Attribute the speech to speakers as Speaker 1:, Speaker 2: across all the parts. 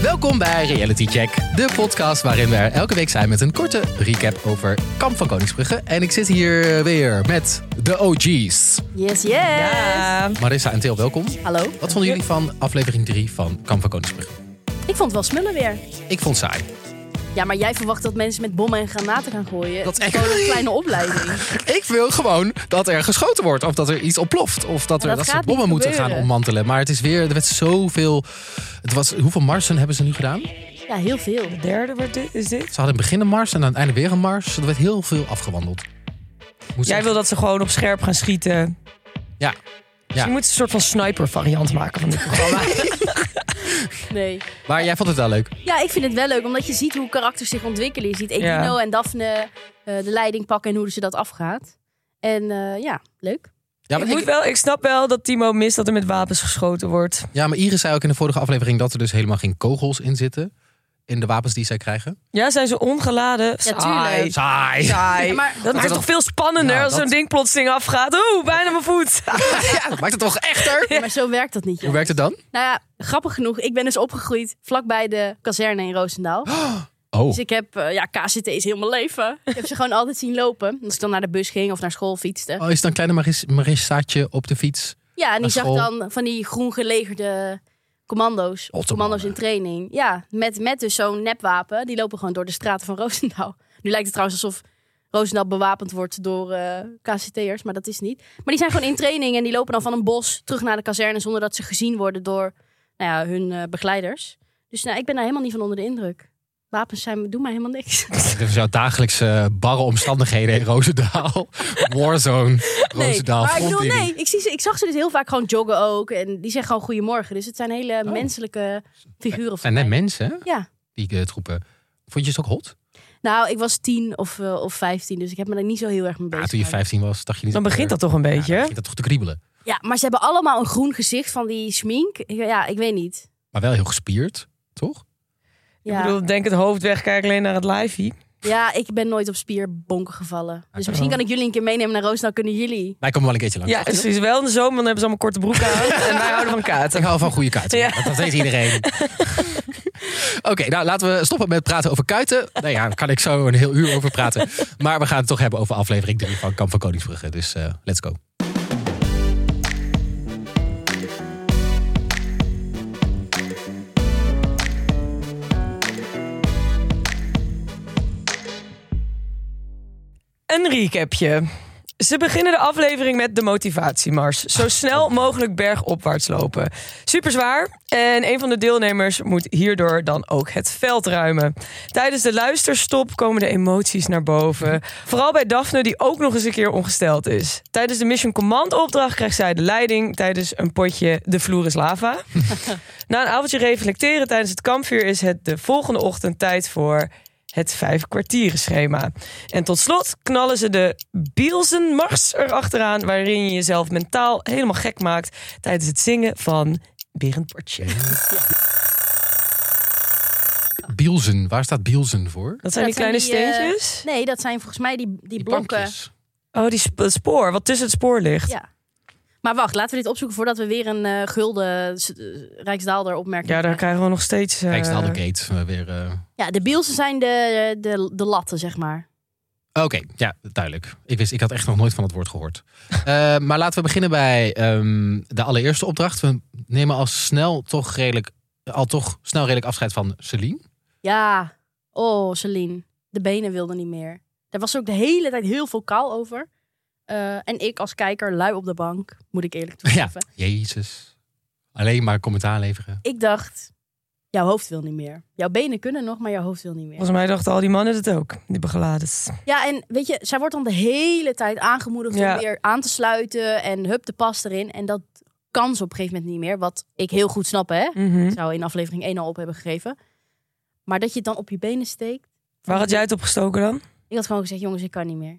Speaker 1: Welkom bij Reality Check, de podcast waarin we er elke week zijn met een korte recap over Kamp van Koningsbrugge. En ik zit hier weer met de OG's.
Speaker 2: Yes, yes. Ja.
Speaker 1: Marissa en Theo, welkom.
Speaker 2: Hallo.
Speaker 1: Wat vonden jullie van aflevering 3 van Kamp van Koningsbrugge?
Speaker 2: Ik vond het wel smullen weer.
Speaker 1: Ik vond het saai.
Speaker 2: Ja, maar jij verwacht dat mensen met bommen en granaten gaan gooien.
Speaker 1: Dat is echt-
Speaker 2: gewoon een kleine opleiding.
Speaker 1: Ik wil gewoon dat er geschoten wordt. Of dat er iets ontploft. Of dat er
Speaker 2: dat
Speaker 1: dat ze
Speaker 2: gaat
Speaker 1: bommen
Speaker 2: niet
Speaker 1: moeten gaan
Speaker 2: gebeuren.
Speaker 1: ommantelen. Maar het is weer, er werd zoveel... Het was, hoeveel marsen hebben ze nu gedaan?
Speaker 2: Ja, heel veel.
Speaker 3: derde wordt dit, is dit?
Speaker 1: Ze hadden in het begin een mars en aan het einde weer een mars. Er werd heel veel afgewandeld. Moet
Speaker 3: Jij
Speaker 1: ze-
Speaker 3: wil dat ze gewoon op scherp gaan schieten.
Speaker 1: Ja.
Speaker 3: Dus je moet een soort van sniper variant maken van dit programma.
Speaker 2: Nee.
Speaker 1: Maar jij vond het wel leuk.
Speaker 2: Ja, ik vind het wel leuk, omdat je ziet hoe karakters zich ontwikkelen. Je ziet Edino en Daphne eh, de leiding pakken en hoe ze dat afgaat. En eh, ja, leuk.
Speaker 1: Ja
Speaker 3: ik,
Speaker 1: maar,
Speaker 3: moet
Speaker 1: ik-
Speaker 3: wel, ik snap wel dat Timo mist dat er met wapens geschoten wordt.
Speaker 1: ja, maar Iris zei ook in de vorige aflevering dat er dus helemaal geen kogels in zitten. In de wapens die zij krijgen.
Speaker 3: Ja, zijn ze ongeladen? Saai.
Speaker 2: tuurlijk.
Speaker 1: Saai.
Speaker 3: Saai.
Speaker 2: Ja, maar-
Speaker 3: dat is
Speaker 1: dat-
Speaker 3: toch veel spannender
Speaker 1: Nou,
Speaker 3: als
Speaker 1: dat-
Speaker 3: zo'n ding plotseling afgaat. Oeh, bijna mijn voet.
Speaker 1: Ja, dat maakt het toch echter?
Speaker 2: Maar zo werkt dat niet, joh.
Speaker 1: Hoe werkt het dan?
Speaker 2: Nou ja, grappig genoeg, ik ben dus opgegroeid vlakbij de kazerne in Roosendaal.
Speaker 1: Oh,
Speaker 2: Dus ik heb, eh, ja, KCT is heel mijn leven. Ik heb ze gewoon altijd zien lopen. Als ik dan naar de bus ging of naar school fietste.
Speaker 1: oh is het een kleine Maris, Marissaatje op de fiets?
Speaker 2: Ja, en die
Speaker 1: Naar
Speaker 2: zag
Speaker 1: school.
Speaker 2: dan van die groen gelegerde commando's. Of
Speaker 1: Ottomannen.
Speaker 2: commando's in training. Ja, met, met dus zo'n nepwapen. Die lopen gewoon door de straten van Roosendaal. Nu lijkt het trouwens alsof Roosendaal bewapend wordt door eh KCT'ers. Maar dat is niet. Maar die zijn gewoon in training en die lopen dan van een bos terug naar de kazerne... zonder dat ze gezien worden door nou ja, hun eh, begeleiders. Dus nou, ik ben daar helemaal niet van onder de indruk. Wapens zijn, doen mij helemaal niks.
Speaker 1: Dat is jouw dagelijkse barre omstandigheden in Roosendaal. Warzone. Roosendaal.
Speaker 2: maar ik bedoel,
Speaker 1: frontlinie.
Speaker 2: nee. Ik, zie ze, ik zag ze dus heel vaak gewoon joggen ook. En die zeggen gewoon goedemorgen. Dus het zijn hele menselijke figuren. voor
Speaker 1: En net
Speaker 2: mij.
Speaker 1: mensen, hè,
Speaker 2: Ja.
Speaker 1: die eh, troepen. Vond je ze ook hot?
Speaker 2: Nou, ik was tien of, eh, of vijftien, dus ik heb me daar niet zo heel erg mee
Speaker 1: Ja,
Speaker 2: bezig.
Speaker 1: toen je
Speaker 2: gehouden.
Speaker 1: 15 was, dacht je niet... eh,
Speaker 3: Dan begint dat toch een
Speaker 1: Ja,
Speaker 3: beetje.
Speaker 1: dan begint dat toch te kriebelen.
Speaker 2: ja, maar ze hebben allemaal een groen gezicht van die smink. Ik- Ja, ik weet niet.
Speaker 1: Maar wel heel gespierd, toch?
Speaker 2: Ja,
Speaker 3: Ik
Speaker 2: ik,
Speaker 3: bedoel, denk het hoofd weg, kijk alleen naar het live.
Speaker 2: ja, ik ben nooit op spierbonken gevallen. Dus
Speaker 1: Oh.
Speaker 2: misschien kan ik jullie een keer meenemen naar Roosendaal. Kunnen jullie?
Speaker 1: Wij komen wel een keertje langs.
Speaker 3: Ja, ze is wel in de zomer, dan hebben ze allemaal korte broeken aan. en wij houden van kaarten.
Speaker 1: Ik hou van goede kuiten.
Speaker 3: Ja.
Speaker 1: Dat weet iedereen. Oké, nou laten we stoppen met praten over kuiten. Nou ja, daar kan ik zo een heel uur over praten. Maar we gaan het toch hebben over aflevering 3 van Kamp van Koningsbrugge. Dus eh, let's go.
Speaker 3: Een recapje. Ze beginnen de aflevering met de motivatiemars. Zo snel mogelijk bergopwaarts lopen. Super zwaar. En een van de deelnemers moet hierdoor dan ook het veld ruimen. Tijdens de luisterstop komen de emoties naar boven. Vooral bij Daphne, die ook nog eens een keer ongesteld is. Tijdens de Mission Command opdracht krijgt zij de leiding tijdens een potje De Vloer is Lava. Na een avondje reflecteren tijdens het kampvuur is het de volgende ochtend tijd voor het vijf kwartieren schema. En tot slot knallen ze de Bielsenmars erachteraan, waarin je jezelf mentaal helemaal gek maakt tijdens het zingen van Berend Bortje.
Speaker 1: Bielsen, waar staat Bielsen voor?
Speaker 3: Dat zijn die
Speaker 2: Dat
Speaker 3: kleine
Speaker 2: zijn die, eh,
Speaker 3: steentjes.
Speaker 2: Nee, dat zijn volgens mij die, die, blokken.
Speaker 1: plankjes.
Speaker 3: Oh, die sp- het spoor, wat tussen het spoor ligt. Ja,
Speaker 2: Ja. Maar wacht, laten we dit opzoeken voordat we weer een eh, gulden s- eh, Rijksdaalder opmerking
Speaker 3: daar krijgen we nog steeds. eh,
Speaker 1: Rijksdaaldergate. eh, weer. eh.
Speaker 2: Ja, de bielsen zijn de, de, de latten, zeg maar.
Speaker 1: Oké, ja, duidelijk. Ik, wist, ik had echt nog nooit van het woord gehoord. Eh, maar laten we beginnen bij ehm, de allereerste opdracht. We nemen al snel toch redelijk, al toch snel redelijk afscheid van Celine.
Speaker 2: Ja, oh Celine, de benen wilden niet meer. Daar was ook de hele tijd heel veel kaal over. Eh, en ik als kijker, lui op de bank, moet ik eerlijk toegeven.
Speaker 1: Jezus. Alleen maar commentaar leveren.
Speaker 2: Ik dacht, jouw hoofd wil niet meer. Jouw benen kunnen nog, maar jouw hoofd wil niet meer.
Speaker 3: Volgens mij dachten al die mannen het ook, die begeladers.
Speaker 2: Ja, en weet je, zij wordt dan de hele tijd aangemoedigd
Speaker 3: Ja.
Speaker 2: om weer aan te sluiten. En hup, de pas erin. En dat kan ze op een gegeven moment niet meer. Wat ik heel goed snap, hè.
Speaker 3: Mhm.
Speaker 2: Ik zou in aflevering 1 al op hebben gegeven. Maar dat je het dan op je benen steekt.
Speaker 3: Waar had jij het op gestoken dan?
Speaker 2: Ik had gewoon gezegd, jongens, ik kan niet meer.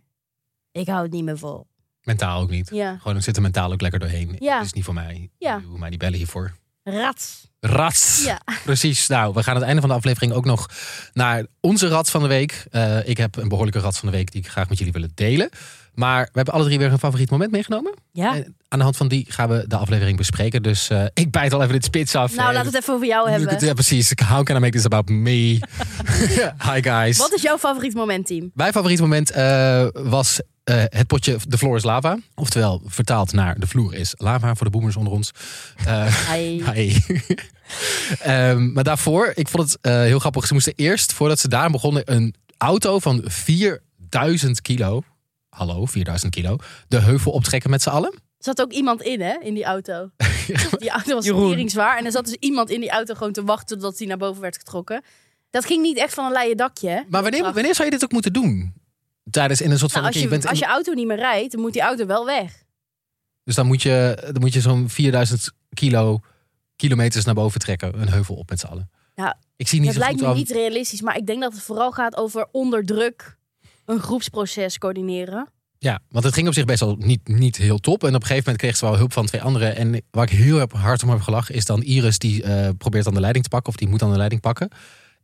Speaker 2: Ik hou het niet meer vol.
Speaker 1: Mentaal ook niet.
Speaker 2: Ja.
Speaker 1: Gewoon, ik zit er mentaal ook lekker doorheen.
Speaker 2: Ja.
Speaker 1: Het is niet voor mij.
Speaker 2: Ja.
Speaker 1: Doe mij die bellen hiervoor.
Speaker 2: Rats.
Speaker 1: Rats!
Speaker 2: Ja.
Speaker 1: Precies. Nou, we gaan aan het einde van de aflevering ook nog naar onze rat van de week. Eh, ik heb een behoorlijke rat van de week die ik graag met jullie willen delen. Maar we hebben alle drie weer een favoriet moment meegenomen.
Speaker 2: Ja.
Speaker 1: En aan de hand van die gaan we de aflevering bespreken. Dus eh, ik bijt al even dit spits af.
Speaker 2: Nou,
Speaker 1: Eh,
Speaker 2: laten we het even over jou
Speaker 1: look at-
Speaker 2: hebben.
Speaker 1: Ja, precies. How can I make this about me? Hi guys.
Speaker 2: Wat is jouw favoriet moment, team?
Speaker 1: Mijn favoriet moment eh, was eh, het potje De Floor is Lava. Oftewel, vertaald naar De Vloer is Lava voor de boomers onder ons. Eh,
Speaker 2: Ai.
Speaker 1: hi. Ehm, maar daarvoor, ik vond het eh, heel grappig. Ze moesten eerst, voordat ze daar begonnen, een auto van 4000 kilo. Hallo, 4000 kilo. De heuvel optrekken met z'n allen.
Speaker 2: Er zat ook iemand in, hè, in die auto. Die auto was
Speaker 3: Jeroen.
Speaker 2: zwaar. En er zat dus iemand in die auto gewoon te wachten totdat hij naar boven werd getrokken. Dat ging niet echt van een leien dakje, hè?
Speaker 1: Maar wanneer,
Speaker 2: Opdracht.
Speaker 1: wanneer zou je dit ook moeten doen? Tijdens in een soort van.
Speaker 2: Nou, als,
Speaker 1: oké, je
Speaker 2: je,
Speaker 1: bent
Speaker 2: als
Speaker 1: in-
Speaker 2: je auto niet meer rijdt, dan moet die auto wel weg.
Speaker 1: Dus dan moet je, dan moet je zo'n 4000 kilo kilometers naar boven trekken. Een heuvel op met z'n allen.
Speaker 2: Ja,
Speaker 1: ik zie niet
Speaker 2: dat
Speaker 1: zo
Speaker 2: lijkt
Speaker 1: goed
Speaker 2: me
Speaker 1: aan-
Speaker 2: niet realistisch, maar ik denk dat het vooral gaat over onder druk een groepsproces coördineren.
Speaker 1: Ja, want het ging op zich best wel niet, niet heel top. En op een gegeven moment kreeg ze wel hulp van twee anderen. En waar ik heel heb- hard om heb gelachen is dan Iris. Die eh, probeert aan de leiding te pakken. Of die moet aan de leiding pakken.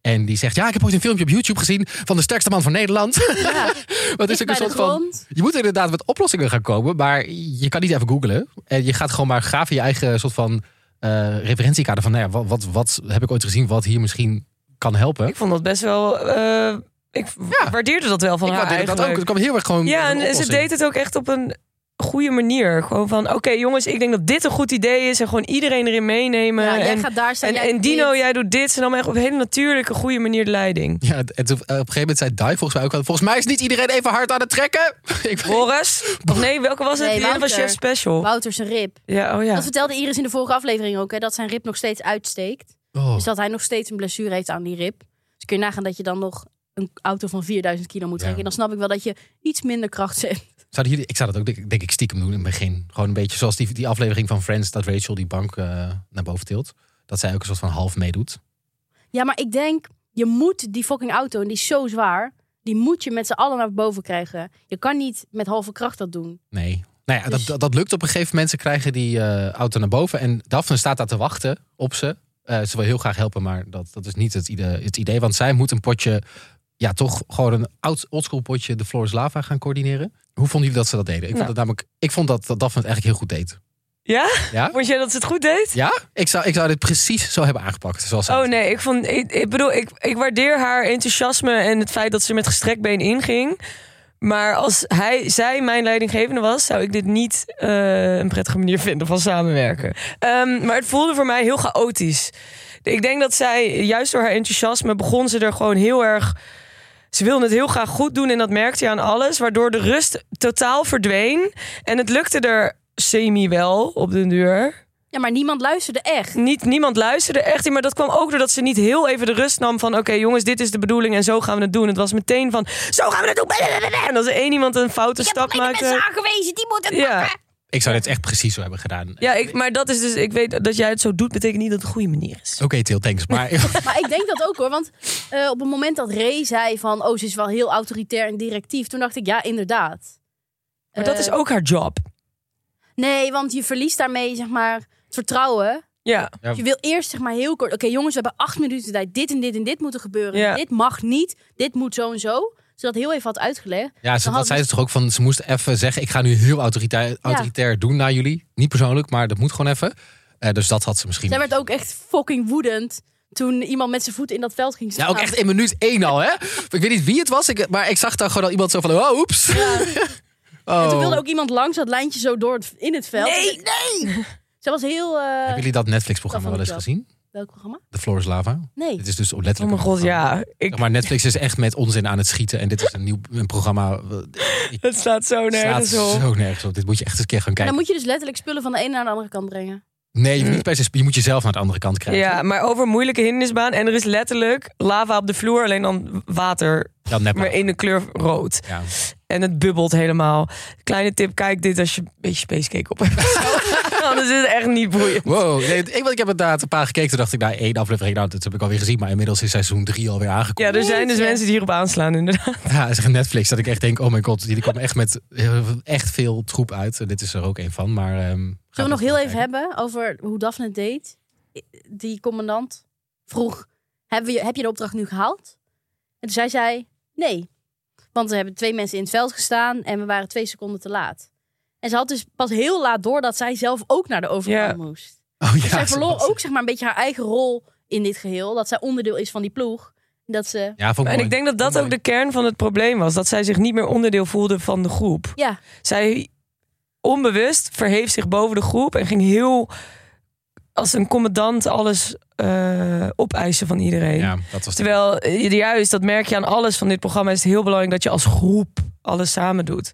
Speaker 1: En die zegt, ja, ik heb ooit een filmpje op YouTube gezien van de sterkste man van Nederland.
Speaker 2: Ja,
Speaker 1: Wat is ook
Speaker 2: dicht
Speaker 1: een
Speaker 2: bij de
Speaker 1: soort van...
Speaker 2: grond.
Speaker 1: Je moet inderdaad met oplossingen gaan komen, maar je kan niet even googlen. En je gaat gewoon maar graven je eigen soort van eh, referentiekader van, nou ja, wat, wat, wat heb ik ooit gezien wat hier misschien kan helpen.
Speaker 3: Ik vond dat best wel... eh, ik
Speaker 1: Ja.
Speaker 3: waardeerde dat wel van
Speaker 1: Ik
Speaker 3: haar
Speaker 1: waardeer dat ook.
Speaker 3: eigenlijk.
Speaker 1: Het kwam heel erg gewoon.
Speaker 3: Ja,
Speaker 1: met een
Speaker 3: en ze
Speaker 1: oplossing.
Speaker 3: deed het ook echt op een goede manier. Gewoon van, oké jongens, ik denk dat dit een goed idee is. En gewoon iedereen erin meenemen.
Speaker 2: Ja, jij
Speaker 3: en,
Speaker 2: gaat daar staan.
Speaker 3: en,
Speaker 2: jij
Speaker 3: en
Speaker 2: doet
Speaker 3: Dino,
Speaker 2: dit.
Speaker 3: jij doet dit. Ze nam echt op een hele natuurlijke, goede manier de leiding.
Speaker 1: Ja, en toen- eh, op een gegeven moment zei Dai volgens mij ook wel. Volgens mij is niet iedereen even hard aan het trekken. Ik weet-
Speaker 3: Boris? Of nee, welke was het?
Speaker 2: Nee,
Speaker 3: Die ene was
Speaker 2: Wouter.
Speaker 3: Chef
Speaker 1: Oh.
Speaker 3: Special.
Speaker 2: Wouter zijn rib.
Speaker 3: Ja, oh ja.
Speaker 2: Dat vertelde Iris in de vorige aflevering ook, hè, dat zijn rib nog steeds uitsteekt.
Speaker 1: Oh.
Speaker 2: Dus dat hij nog steeds een blessure heeft aan die rib. Dus kun je nagaan dat je dan nog een auto van 4000 kilo moet trekken.
Speaker 1: Ja.
Speaker 2: En dan snap ik wel dat je iets minder kracht hebt.
Speaker 1: Zouden jullie, ik zou dat ook denk, denk ik stiekem doen in het begin. Gewoon een beetje zoals die, die aflevering van Friends dat Rachel die bank eh, naar boven tilt. Dat zij ook een soort van half meedoet.
Speaker 2: Ja, maar ik denk, je moet die fucking auto, en die is zo zwaar, die moet je met z'n allen naar boven krijgen. Je kan niet met halve kracht dat doen.
Speaker 1: Nee. Nou ja,
Speaker 2: Dus-
Speaker 1: dat, dat, dat lukt op een gegeven moment. Ze krijgen die eh, auto naar boven. En Daphne staat daar te wachten op ze. Eh, ze wil heel graag helpen, maar dat, dat is niet het idee, het idee. Want zij moet een potje, ja toch gewoon een oud oldschool potje, de Floor is Lava gaan coördineren. Hoe vonden jullie dat ze dat deden? Ik vond,
Speaker 3: Nou.
Speaker 1: dat namelijk, ik vond dat, dat Daphne het eigenlijk heel goed deed.
Speaker 3: Ja?
Speaker 1: Ja?
Speaker 3: Vond jij dat ze het goed deed?
Speaker 1: Ja? Ik zou, ik zou dit precies zo hebben aangepakt. Zoals zij
Speaker 3: Oh
Speaker 1: het-
Speaker 3: nee, ik, vond, ik, ik bedoel, ik, ik waardeer haar enthousiasme en het feit dat ze met gestrekt been inging. Maar als hij, zij mijn leidinggevende was, zou ik dit niet eh, een prettige manier vinden van samenwerken. Ehm, maar het voelde voor mij heel chaotisch. Ik denk dat zij, juist door haar enthousiasme, begon ze er gewoon heel erg. Ze wilde het heel graag goed doen en dat merkte je aan alles. Waardoor de rust totaal verdween. En het lukte er semi wel op den duur
Speaker 2: Ja, maar niemand luisterde echt.
Speaker 3: niet, niemand luisterde echt. in, Maar dat kwam ook doordat ze niet heel even de rust nam van... oké jongens, dit is de bedoeling en zo gaan we het doen. Het was meteen van, zo gaan we het doen. En als er één iemand een foute stap maakte...
Speaker 2: aangewezen, die moeten
Speaker 3: Ja,
Speaker 1: Ik zou dit echt precies zo hebben gedaan.
Speaker 3: ja ik, maar dat is dus... Ik weet dat jij het zo doet, betekent niet dat het een goede manier is.
Speaker 1: Oké, Til, thanks. Maar
Speaker 2: Maar ik denk dat ook hoor, want eh, op het moment dat Ray zei van... oh, ze is wel heel autoritair en directief, toen dacht ik, ja, inderdaad.
Speaker 3: Maar dat
Speaker 2: Eh,
Speaker 3: is ook haar job.
Speaker 2: Nee, want je verliest daarmee, zeg maar, het vertrouwen.
Speaker 3: Ja,
Speaker 1: Ja.
Speaker 2: Je wil eerst, zeg maar, heel kort... Oké, jongens, we hebben acht minuten de tijd. Dit en dit en dit moeten gebeuren.
Speaker 3: Ja.
Speaker 2: Dit mag niet. Dit moet zo en zo. Zodat heel even had uitgelegd.
Speaker 1: Ja, ze,
Speaker 2: Dan
Speaker 1: dat
Speaker 2: hadden
Speaker 1: zei ze toch ook van ze moest even zeggen: ik ga nu heel autoritair, autoritair doen naar jullie. Niet persoonlijk, maar dat moet gewoon even. Eh, dus dat had ze misschien.
Speaker 2: Zij werd ook echt fucking woedend toen iemand met zijn voeten in dat veld ging
Speaker 1: Ja,
Speaker 2: staan.
Speaker 1: ook echt in minuut één al, hè? ik weet niet wie het was, ik, maar ik zag daar gewoon al iemand zo van: oh, oeps. Oh.
Speaker 2: En toen wilde ook iemand langs dat lijntje zo door het, in het veld.
Speaker 3: Nee,
Speaker 2: nee! Ze was heel... eh,
Speaker 1: Hebben jullie dat Netflix-programma
Speaker 2: Dat
Speaker 1: wel eens
Speaker 2: vond ik
Speaker 1: gezien?
Speaker 2: Welk programma?
Speaker 1: De Floor is Lava.
Speaker 2: Nee.
Speaker 1: Dit is dus
Speaker 3: oh
Speaker 1: letterlijk.
Speaker 3: mijn
Speaker 1: een
Speaker 3: god,
Speaker 1: programma.
Speaker 3: ja. Ik,
Speaker 1: Zeg Maar Netflix is echt met onzin aan het schieten. En dit is een nieuw een programma.
Speaker 2: Oh,
Speaker 3: het staat zo
Speaker 1: Het slaat
Speaker 3: nergens op.
Speaker 1: zo nergens op. Dit moet je echt eens een keer gaan
Speaker 2: En dan
Speaker 1: kijken.
Speaker 2: moet je dus letterlijk spullen van de ene naar de andere kant brengen.
Speaker 1: Nee, je moet, niet per se- je moet jezelf naar de andere kant krijgen.
Speaker 3: Ja, maar over moeilijke hindernisbaan. En er is letterlijk lava op de vloer, alleen dan water.
Speaker 1: Dan net
Speaker 3: Maar
Speaker 1: maar.
Speaker 3: in de kleur rood.
Speaker 1: Ja.
Speaker 3: En het bubbelt helemaal. Kleine tip, kijk dit als je een beetje spacecake op hebt. Anders is het echt niet boeiend.
Speaker 1: Wow, nee, ik, want ik heb inderdaad een paar gekeken. Toen dacht ik, nou, één aflevering, nou, dat heb ik alweer gezien. Maar inmiddels is seizoen drie alweer
Speaker 3: Ja,
Speaker 1: aangekomen.
Speaker 3: er zijn dus
Speaker 2: Jeetje.
Speaker 3: mensen die hierop aanslaan inderdaad.
Speaker 1: Ja, dat is echt Netflix. Dat ik echt denk, oh mijn god, jullie komen echt met eh, echt veel troep uit. En dit is er ook een van. Maar, ehm, gaan
Speaker 2: Zullen we nog
Speaker 1: dat
Speaker 2: heel
Speaker 1: wel
Speaker 2: even
Speaker 1: kijken.
Speaker 2: hebben over hoe Daphne het deed? Die commandant vroeg, heb je, heb je de opdracht nu gehaald? En toen zij zei, nee. Want er hebben twee mensen in het veld gestaan en we waren twee seconden te laat. En ze had dus pas heel laat door dat zij zelf ook naar de overkant moest.
Speaker 1: Oh, ja,
Speaker 2: Dus zij
Speaker 1: ze
Speaker 2: verloor
Speaker 1: was-
Speaker 2: ook zeg maar een beetje haar eigen rol in dit geheel. Dat zij onderdeel is van die ploeg. Dat ze,
Speaker 1: Ja, vond ik
Speaker 3: En
Speaker 1: mooi.
Speaker 3: ik denk dat dat ook de kern van het probleem was. Dat zij zich niet meer onderdeel voelde van de groep.
Speaker 2: ja,
Speaker 3: Zij onbewust verheef zich boven de groep en ging heel als een commandant alles eh, opeisen van iedereen.
Speaker 1: Ja, dat was
Speaker 3: Terwijl eh, juist, dat merk je aan alles van dit programma, is het heel belangrijk dat je als groep alles samen doet.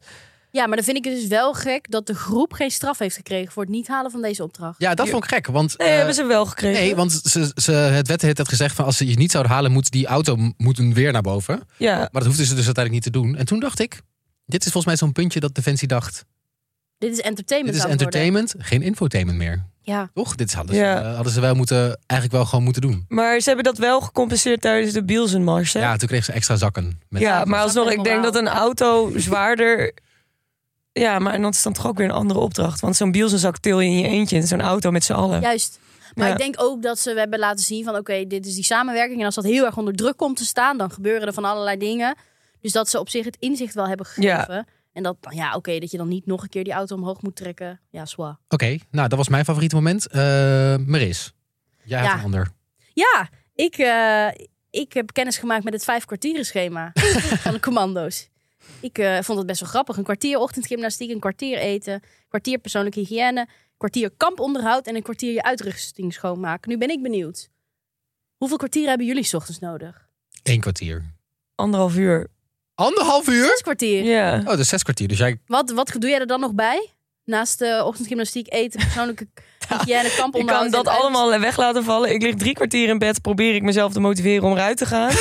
Speaker 2: ja, maar dan vind ik het dus wel gek dat de groep geen straf heeft gekregen voor het niet halen van deze opdracht.
Speaker 1: Ja, dat vond ik gek. Want,
Speaker 3: Nee,
Speaker 1: eh,
Speaker 3: hebben ze wel gekregen.
Speaker 1: nee, want ze, ze, het wet heeft gezegd van als ze je niet zouden halen, moet die auto m- moet een weer naar boven.
Speaker 3: ja.
Speaker 1: Maar dat hoefden ze dus uiteindelijk niet te doen. En toen dacht ik, dit is volgens mij zo'n puntje dat Defensie dacht.
Speaker 2: Dit is entertainment.
Speaker 1: Dit is
Speaker 2: aan het worden.
Speaker 1: entertainment, geen infotainment meer.
Speaker 2: Ja.
Speaker 1: Toch? Dit hadden ze,
Speaker 3: Ja.
Speaker 1: eh, hadden ze wel moeten, eigenlijk wel gewoon moeten doen.
Speaker 3: Maar ze hebben dat wel gecompenseerd tijdens de Bielsenmars. hè?
Speaker 1: Ja, toen kregen ze extra zakken. Met
Speaker 3: ja, maar alsnog, ik denk
Speaker 2: Moraal.
Speaker 3: dat een auto zwaarder. Ja, maar en dat is dan toch ook weer een andere opdracht. Want zo'n Bielsenzak til je in je eentje in zo'n auto met z'n allen.
Speaker 2: Juist. Maar
Speaker 3: Ja.
Speaker 2: ik denk ook dat ze we hebben laten zien van oké, dit is die samenwerking. En als dat heel erg onder druk komt te staan, dan gebeuren er van allerlei dingen. Dus dat ze op zich het inzicht wel hebben gegeven. En dat, nou ja, oké, dat je dan niet nog een keer die auto omhoog moet trekken. Ja, zwa.
Speaker 1: Oké, nou dat was mijn favoriete moment. Eh Maris, jij had
Speaker 2: Ja.
Speaker 1: een ander.
Speaker 2: Ja, ik, eh, ik heb kennis gemaakt met het vijf kwartieren schema van de commando's. Ik eh, vond het best wel grappig. Een kwartier ochtendgymnastiek, een kwartier eten, kwartier persoonlijke hygiëne, kwartier kamponderhoud en een kwartier je uitrusting schoonmaken. Nu ben ik benieuwd. Hoeveel kwartieren hebben jullie 's ochtends nodig?
Speaker 1: Eén kwartier.
Speaker 3: Anderhalf uur.
Speaker 1: Anderhalf uur?
Speaker 2: Zes kwartier.
Speaker 3: Ja.
Speaker 1: Oh, dus zes kwartier. Dus jij...
Speaker 2: Wat, wat doe jij er dan nog bij? Naast de ochtendgymnastiek, eten, persoonlijke hygiëne, kamponderhoud.
Speaker 3: Ik kan
Speaker 2: en
Speaker 3: dat
Speaker 2: uit-
Speaker 3: allemaal weg laten vallen. Ik lig drie kwartier in bed, probeer ik mezelf te motiveren om eruit te gaan.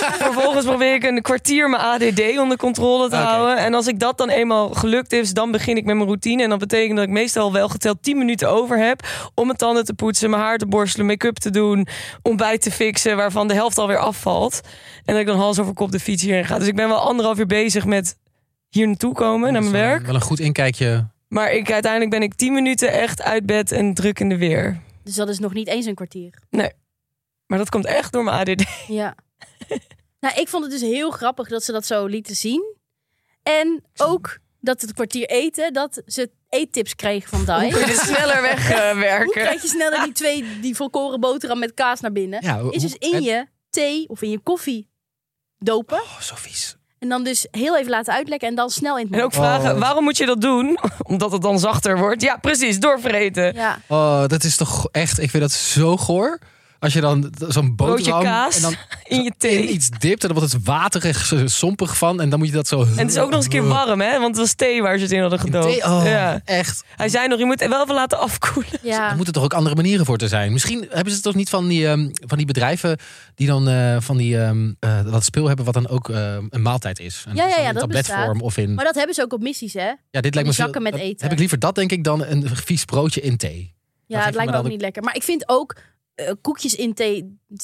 Speaker 3: Vervolgens probeer ik een kwartier mijn ADD onder controle te
Speaker 1: Oké.
Speaker 3: houden. En als ik dat dan eenmaal gelukt is, dan begin ik met mijn routine. En dat betekent dat ik meestal wel geteld 10 minuten over heb om mijn tanden te poetsen, mijn haar te borstelen, make-up te doen, ontbijt te fixen, waarvan de helft alweer afvalt. En dat ik dan hals over kop de fiets hierin ga. Dus ik ben wel anderhalf uur bezig met hier naartoe komen, naar
Speaker 1: Dat is
Speaker 3: mijn
Speaker 1: wel-
Speaker 3: werk.
Speaker 1: Wel een goed inkijkje.
Speaker 3: Maar ik, uiteindelijk ben ik 10 minuten echt uit bed en druk in de weer.
Speaker 2: Dus dat is nog niet eens een kwartier.
Speaker 3: Maar dat komt echt door mijn ADD.
Speaker 2: Ja. nou, ik vond het dus heel grappig dat ze dat zo lieten zien. En ook dat het kwartier eten, dat ze eettips kregen van Dai.
Speaker 3: Kun je dit sneller eh, wegwerken?
Speaker 2: Hoe krijg je sneller die twee, die volkoren boterham met kaas naar binnen?
Speaker 1: Ja, hoe-
Speaker 2: Is dus
Speaker 1: hoe-
Speaker 2: in je thee of in je koffie dopen.
Speaker 1: Oh, zo vies.
Speaker 2: En dan dus heel even laten uitlekken en dan snel in het
Speaker 3: en ook
Speaker 2: mond.
Speaker 3: vragen,
Speaker 1: Oh.
Speaker 3: waarom moet je dat doen? Omdat het dan zachter wordt. Ja, precies, doorvreten.
Speaker 2: Ja.
Speaker 1: Oh, dat is toch echt... Ik vind dat zo goor. Als je dan zo'n
Speaker 3: Broodje
Speaker 1: boterham...
Speaker 3: kaas
Speaker 1: En dan
Speaker 3: in je thee.
Speaker 1: in iets dipt en dan wordt het waterig, zo sompig van. En dan moet je dat zo...
Speaker 3: En het is ook nog eens een keer warm, hè? Want het was thee waar ze het in hadden gedoopt.
Speaker 1: Thee- Oh,
Speaker 3: Ja.
Speaker 1: echt.
Speaker 3: Hij zei nog, je moet het wel even laten afkoelen.
Speaker 1: Er
Speaker 2: ja.
Speaker 1: moeten toch ook andere manieren voor te zijn. Misschien hebben ze het toch niet van die, ehm, van die bedrijven die dan eh, van die, ehm, eh, dat spul hebben wat dan ook ehm, een maaltijd is. En dat is
Speaker 2: Ja, ja,
Speaker 1: dan
Speaker 2: ja,
Speaker 1: in
Speaker 2: dat
Speaker 1: tabletvorm of in.
Speaker 2: Maar dat hebben ze ook op missies, hè?
Speaker 1: ja, dit lijkt me
Speaker 2: die
Speaker 1: veel-
Speaker 2: zakken met
Speaker 1: dat-
Speaker 2: eten.
Speaker 1: Heb ik liever dat denk ik dan een vies broodje in thee.
Speaker 2: Ja,
Speaker 1: geeft
Speaker 2: het lijkt
Speaker 1: me
Speaker 2: me
Speaker 1: dan
Speaker 2: ook
Speaker 1: ook-
Speaker 2: niet lekker. Maar ik vind ook eh, koekjes in thee,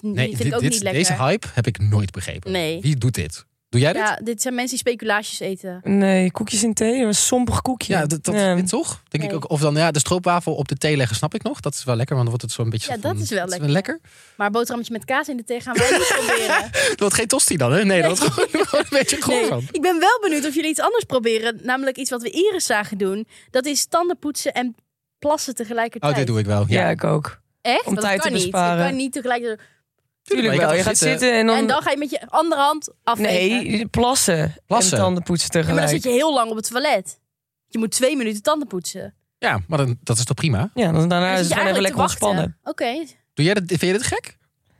Speaker 2: nee, vind ik
Speaker 1: dit-
Speaker 2: ook
Speaker 1: dit-
Speaker 2: niet lekker.
Speaker 1: deze hype heb ik nooit begrepen.
Speaker 2: Nee.
Speaker 1: Wie doet dit? Doe jij dit?
Speaker 2: Ja, dit zijn mensen die speculaasjes eten.
Speaker 3: Nee, koekjes in thee, een sompig koekje.
Speaker 1: Ja, dat, dat
Speaker 3: Ja.
Speaker 1: dit toch? Denk ik
Speaker 2: Nee.
Speaker 1: ook. Of dan ja, de stroopwafel op de thee leggen, snap ik nog. Dat is wel lekker, want dan wordt het zo'n beetje.
Speaker 2: Ja,
Speaker 1: soort van-
Speaker 2: dat is wel lekker,
Speaker 1: lekker.
Speaker 2: Maar boterhammetje met kaas in de thee gaan wij niet proberen.
Speaker 1: Dat wordt geen tosti dan, hè? Nee, dat wordt gewoon, gewoon een beetje goor
Speaker 2: Nee,
Speaker 1: van.
Speaker 2: ik ben wel benieuwd of jullie iets anders proberen. Namelijk iets wat we Iris zagen doen. Dat is tanden poetsen en plassen tegelijkertijd.
Speaker 1: Oh, dit doe ik wel. Ja.
Speaker 3: Ja, ik ook.
Speaker 2: Echt?
Speaker 3: Om
Speaker 2: Want
Speaker 3: tijd
Speaker 2: dat kan
Speaker 3: te
Speaker 2: Niet.
Speaker 3: besparen.
Speaker 2: Je kan niet tegelijkertijd...
Speaker 1: maar
Speaker 3: Tuurlijk
Speaker 1: je
Speaker 3: wel.
Speaker 1: gaat
Speaker 3: Je gaat
Speaker 1: zitten-
Speaker 3: zitten en dan...
Speaker 2: En dan ga je met je andere hand afvegen. Ja,
Speaker 3: nee, plassen.
Speaker 1: Plassen.
Speaker 3: En tanden poetsen
Speaker 2: maar dan zit
Speaker 3: tegelijk.
Speaker 2: je heel lang op het toilet. Je moet twee minuten tanden poetsen.
Speaker 1: Ja, maar dan, dat is toch prima?
Speaker 3: Ja, dan daarna
Speaker 2: Dan
Speaker 3: is
Speaker 2: zit
Speaker 3: het
Speaker 2: je
Speaker 3: gewoon even
Speaker 2: eigenlijk
Speaker 3: lekker
Speaker 2: te wachten.
Speaker 3: ontspannen.
Speaker 2: Oké.
Speaker 1: Doe jij dat, vind je dit gek?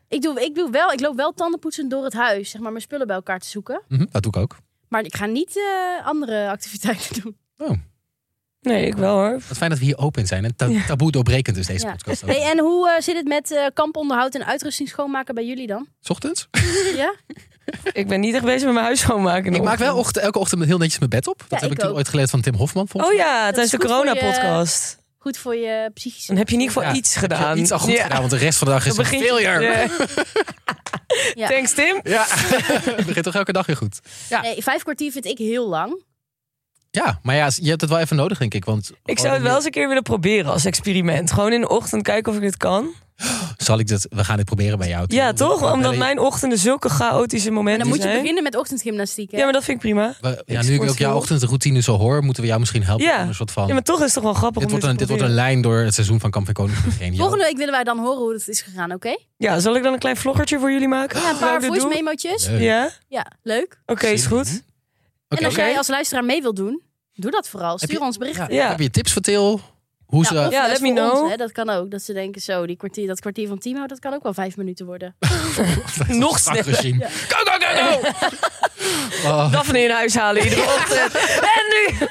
Speaker 2: Ik, doe, ik, doe wel- ik loop wel tandenpoetsen door het huis. Zeg maar mijn spullen bij elkaar te zoeken.
Speaker 1: Mhm, Dat doe ik ook.
Speaker 2: Maar ik ga niet eh, andere activiteiten doen.
Speaker 3: Nee, ik wel hoor.
Speaker 1: Wat fijn dat we hier open in zijn. En ta- taboe doorbrekend is deze
Speaker 2: Ja.
Speaker 1: podcast. ook.
Speaker 2: Hey, en hoe eh, zit het met eh, kamponderhoud en uitrusting schoonmaken bij jullie dan?
Speaker 1: 's Ochtends?
Speaker 2: Ja?
Speaker 3: Ik ben niet echt bezig met mijn huis schoonmaken. in de
Speaker 1: Ik maak wel
Speaker 3: ochtend.
Speaker 1: ochtend, elke ochtend heel netjes mijn bed op. Dat
Speaker 2: Ja,
Speaker 1: heb ik,
Speaker 2: ik
Speaker 1: toen
Speaker 2: ook.
Speaker 1: ooit geleerd van Tim Hofman. volgens
Speaker 3: Oh ja, tijdens
Speaker 2: is
Speaker 3: de
Speaker 2: goed voor je-
Speaker 3: corona-podcast.
Speaker 2: Goed voor je psychische...
Speaker 3: Dan heb je in ieder
Speaker 1: mij.
Speaker 3: geval
Speaker 1: Ja,
Speaker 3: iets
Speaker 1: heb je
Speaker 3: gedaan.
Speaker 1: Iets al goed
Speaker 3: Ja.
Speaker 1: gedaan, want de rest van de dag is
Speaker 3: Dan
Speaker 1: een
Speaker 3: begint je-
Speaker 1: failure. Ja,
Speaker 2: Ja.
Speaker 3: Thanks Tim.
Speaker 1: het begint toch elke dag weer goed.
Speaker 2: Nee, vijf kwartier vind ik heel lang.
Speaker 1: Ja, maar ja, je hebt het wel even nodig, denk ik. Want Oh,
Speaker 3: Ik zou het wel eens een keer willen proberen als experiment. Gewoon in de ochtend kijken of ik dit kan.
Speaker 1: Zal ik dat, we gaan dit proberen bij jou. Tim.
Speaker 3: Ja, toch? Omdat
Speaker 1: Eh,
Speaker 3: mijn ochtenden zulke chaotische
Speaker 2: En
Speaker 3: momenten
Speaker 2: dan moet je
Speaker 3: zijn.
Speaker 2: beginnen met ochtendgymnastiek. Hè?
Speaker 3: Dus Ja, maar dat vind ik prima.
Speaker 1: we- ja,
Speaker 3: Ik
Speaker 1: nu ik
Speaker 3: sport
Speaker 1: ook jouw
Speaker 3: veel.
Speaker 1: ochtendroutine zo hoor, moeten we jou misschien helpen.
Speaker 3: Ja.
Speaker 1: Anders wat van.
Speaker 3: Ja, maar toch is het toch wel grappig
Speaker 1: dit,
Speaker 3: om
Speaker 1: wordt een,
Speaker 3: te
Speaker 1: dit wordt een lijn door het seizoen van Kamp en Koningsbrug heen. Jo.
Speaker 2: Volgende week willen wij dan horen hoe het is gegaan, oké?
Speaker 3: proberen. Ja, zal ik dan een klein vloggertje voor jullie maken?
Speaker 2: Ja, een
Speaker 3: Waar ik
Speaker 2: paar
Speaker 3: dit
Speaker 2: voice
Speaker 3: doe?
Speaker 2: memo'tjes.
Speaker 1: Leuk. Mhm.
Speaker 3: Ja? Oké,
Speaker 2: Ja, leuk.
Speaker 3: is
Speaker 1: Zin in.
Speaker 3: goed.
Speaker 1: Oké.
Speaker 2: En als
Speaker 3: Oké.
Speaker 2: jij als luisteraar mee wilt doen, doe dat vooral.
Speaker 1: Heb
Speaker 2: Stuur
Speaker 1: je-
Speaker 2: ons berichten.
Speaker 3: Ja.
Speaker 1: Heb je tips voor Til? Hoe ze...
Speaker 2: Ja, of
Speaker 3: Ja,
Speaker 2: les
Speaker 3: let me
Speaker 2: voor ons,
Speaker 3: know.
Speaker 2: hè, dat kan ook. Dat ze denken, zo, die kwartier, dat kwartier van Timo, dat kan ook wel vijf minuten worden.
Speaker 1: Strak
Speaker 3: Nog sneller.
Speaker 1: regime. Go, go, go, go! Oh,
Speaker 3: Daphne in huis halen iedere ochtend. En nu!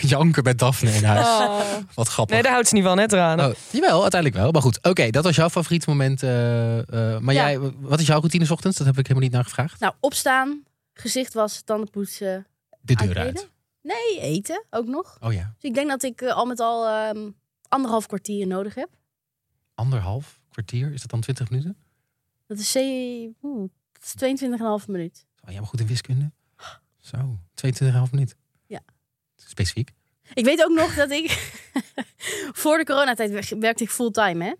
Speaker 1: janken bij Daphne in huis.
Speaker 3: Oh.
Speaker 1: Wat grappig.
Speaker 3: Nee, daar houdt ze niet van, hè, tranen.
Speaker 1: Oh, jawel, uiteindelijk wel. Maar goed, oké, dat was jouw favoriet moment. eh, eh, maar
Speaker 2: Ja.
Speaker 1: jij, wat is jouw routine 's ochtends? Dat heb ik helemaal niet naar gevraagd.
Speaker 2: Nou, opstaan, gezicht wassen, tanden poetsen,
Speaker 1: De deur
Speaker 2: Aankleden?
Speaker 1: uit.
Speaker 2: nee, eten ook nog.
Speaker 1: Oh ja,
Speaker 2: Dus ik denk dat ik eh, al met al ehm, anderhalf kwartier nodig heb.
Speaker 1: anderhalf kwartier, is dat dan 20 minuten?
Speaker 2: Dat is, zee- oeh, dat is 22,5 minuut.
Speaker 1: Oh, jij bent goed in wiskunde. Zo, 22,5 minuut.
Speaker 2: Ja.
Speaker 1: Specifiek.
Speaker 2: Ik weet ook nog dat ik... voor de coronatijd wer- werkte ik fulltime,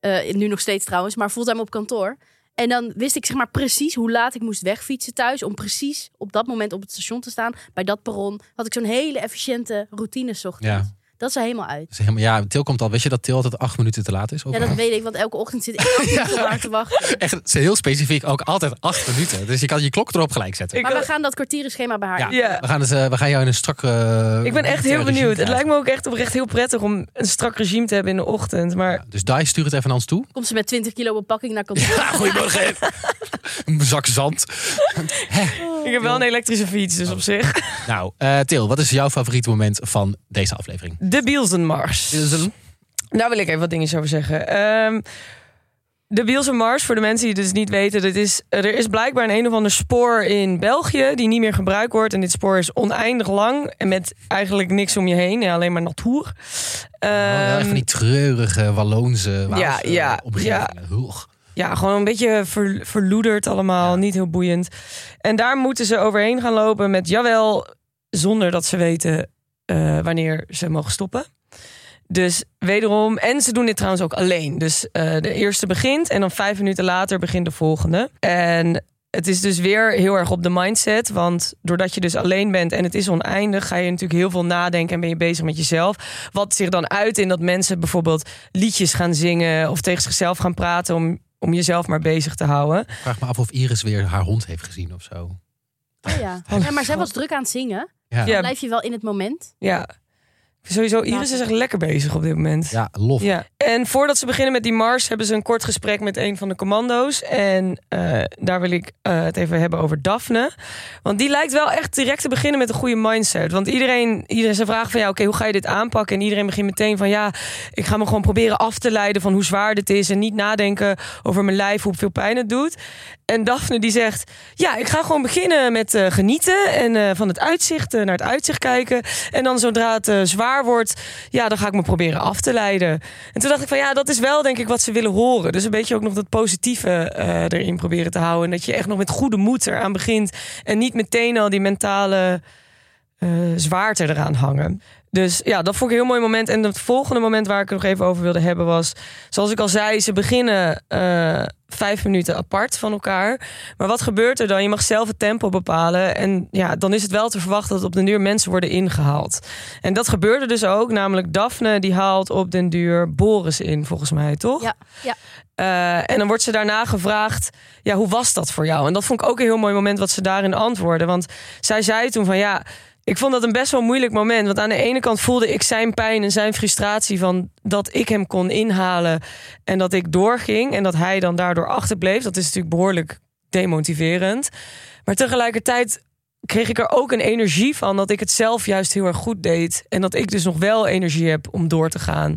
Speaker 2: hè. Eh, nu nog steeds trouwens, maar fulltime op kantoor. En dan wist ik zeg maar precies hoe laat ik moest wegfietsen thuis... om precies op dat moment op het station te staan, bij dat perron. Had ik zo'n hele efficiënte routine 's ochtends.
Speaker 1: Ja.
Speaker 2: Dat is er helemaal uit.
Speaker 1: Dus helemaal, ja, Til komt al. Weet je dat Til altijd 8 minuten te laat is? Ook
Speaker 2: Ja, dat weet ik, want elke ochtend zit ik acht minuten lang te wachten.
Speaker 1: Echt, het is heel specifiek ook altijd 8 minuten. Dus je kan je klok erop gelijk zetten.
Speaker 3: Ik-
Speaker 2: Maar we gaan dat kwartierenschema bij haar.
Speaker 1: Ja.
Speaker 3: Ja.
Speaker 1: We, gaan dus, eh, we gaan jou in een strak... eh,
Speaker 3: Ik ben echt heel
Speaker 1: regime
Speaker 3: benieuwd. Het
Speaker 1: krijgen.
Speaker 3: lijkt me ook echt oprecht heel prettig om een strak regime te hebben in de ochtend. Maar
Speaker 1: Ja, dus Dai, stuur het even naar ons toe.
Speaker 2: Komt ze met 20 kilo bepakking naar kantoor.
Speaker 1: Ja, goedemorgen. een zak zand.
Speaker 3: ik heb wel een elektrische fiets, dus op zich.
Speaker 1: Nou, eh, Til, wat is jouw favoriete moment van deze aflevering? Oh,
Speaker 3: De Bielsenmars. Daar wil ik even wat dingetjes over zeggen. Ehm, de Bielse Mars, voor de mensen die het dus niet weten, dat is, er is blijkbaar een een of ander spoor in België die niet meer gebruikt wordt. En dit spoor is oneindig lang en met eigenlijk niks om je heen, ja, alleen maar natuur.
Speaker 1: Oh, wel echt
Speaker 3: Ehm,
Speaker 1: van die treurige Walloonse Waalse
Speaker 3: Ja, ja,
Speaker 1: omgevingen. Hoeg.
Speaker 3: Ja, gewoon een beetje ver- verloederd allemaal, niet heel boeiend. En daar moeten ze overheen gaan lopen met jawel, zonder dat ze weten eh, wanneer ze mogen stoppen. Dus wederom, en ze doen dit trouwens ook alleen. Dus eh, de eerste begint en dan vijf minuten later begint de volgende. En het is dus weer heel erg op de mindset, want doordat je dus alleen bent en het is oneindig, ga je natuurlijk heel veel nadenken en ben je bezig met jezelf. Wat zich dan uit in dat mensen bijvoorbeeld liedjes gaan zingen of tegen zichzelf gaan praten om, om jezelf maar bezig te houden.
Speaker 1: Ik vraag me af of Iris weer haar hond heeft gezien of zo.
Speaker 2: Oh ja. ja, maar zij was druk aan het zingen.
Speaker 1: Ja, ja.
Speaker 3: Ja.
Speaker 2: Dan blijf je wel in het moment.
Speaker 3: Ja, sowieso. Iris is echt lekker bezig op dit moment.
Speaker 1: lof.
Speaker 3: Ja. En voordat ze beginnen met die Mars, hebben ze een kort gesprek met een van de commando's. En eh, daar wil ik eh, het even hebben over Daphne. Want die lijkt wel echt direct te beginnen met een goede mindset. Want iedereen, iedereen ze vragen van ja, oké, hoe ga je dit aanpakken? En iedereen begint meteen van ja, ik ga me gewoon proberen af te leiden van hoe zwaar dit is. En niet nadenken over mijn lijf, hoeveel pijn het doet. En Daphne die zegt, ja, ik ga gewoon beginnen met eh, genieten en eh, van het uitzicht, eh, naar het uitzicht kijken. En dan zodra het eh, zwaar wordt, ja, dan ga ik me proberen af te leiden. En toen dacht ik van, ja, dat is wel denk ik wat ze willen horen. Dus een beetje ook nog dat positieve eh, erin proberen te houden. En dat je echt nog met goede moed eraan begint. En niet meteen al die mentale eh, zwaarte eraan hangen. Dus ja, dat vond ik een heel mooi moment. En het volgende moment waar ik het nog even over wilde hebben was... Zoals ik al zei, ze beginnen eh, vijf minuten apart van elkaar. Maar wat gebeurt er dan? Je mag zelf het tempo bepalen. En ja, dan is het wel te verwachten dat op den duur mensen worden ingehaald. En dat gebeurde dus ook. Namelijk Daphne, die haalt op den duur Boris in, volgens mij, toch?
Speaker 2: Ja, ja.
Speaker 3: Eh, en dan wordt ze daarna gevraagd, ja, hoe was dat voor jou? En dat vond ik ook een heel mooi moment wat ze daarin antwoordde. Want zij zei toen van, ja, ik vond dat een best wel moeilijk moment. Want aan de ene kant voelde ik zijn pijn en zijn frustratie van dat ik hem kon inhalen. En dat ik doorging en dat hij dan daardoor achterbleef. Dat is natuurlijk behoorlijk demotiverend. Maar tegelijkertijd kreeg ik er ook een energie van dat ik het zelf juist heel erg goed deed. En dat ik dus nog wel energie heb om door te gaan.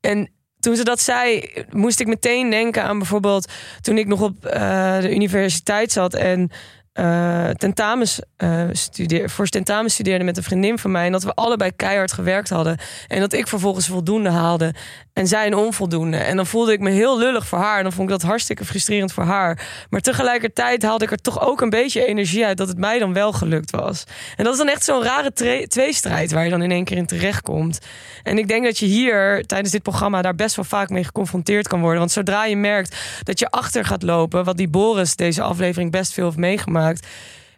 Speaker 3: En toen ze dat zei, moest ik meteen denken aan bijvoorbeeld toen ik nog op eh, de universiteit zat en eh, tentamens, eh, studeer, voor tentamens studeerde met een vriendin van mij. En dat we allebei keihard gewerkt hadden. En dat ik vervolgens voldoende haalde en zij een onvoldoende. En dan voelde ik me heel lullig voor haar. En dan vond ik dat hartstikke frustrerend voor haar. Maar tegelijkertijd haalde ik er toch ook een beetje energie uit dat het mij dan wel gelukt was. En dat is dan echt zo'n rare tre- tweestrijd waar je dan in één keer in terechtkomt. En ik denk dat je hier tijdens dit programma daar best wel vaak mee geconfronteerd kan worden. Want zodra je merkt dat je achter gaat lopen, wat die Boris deze aflevering best veel heeft meegemaakt,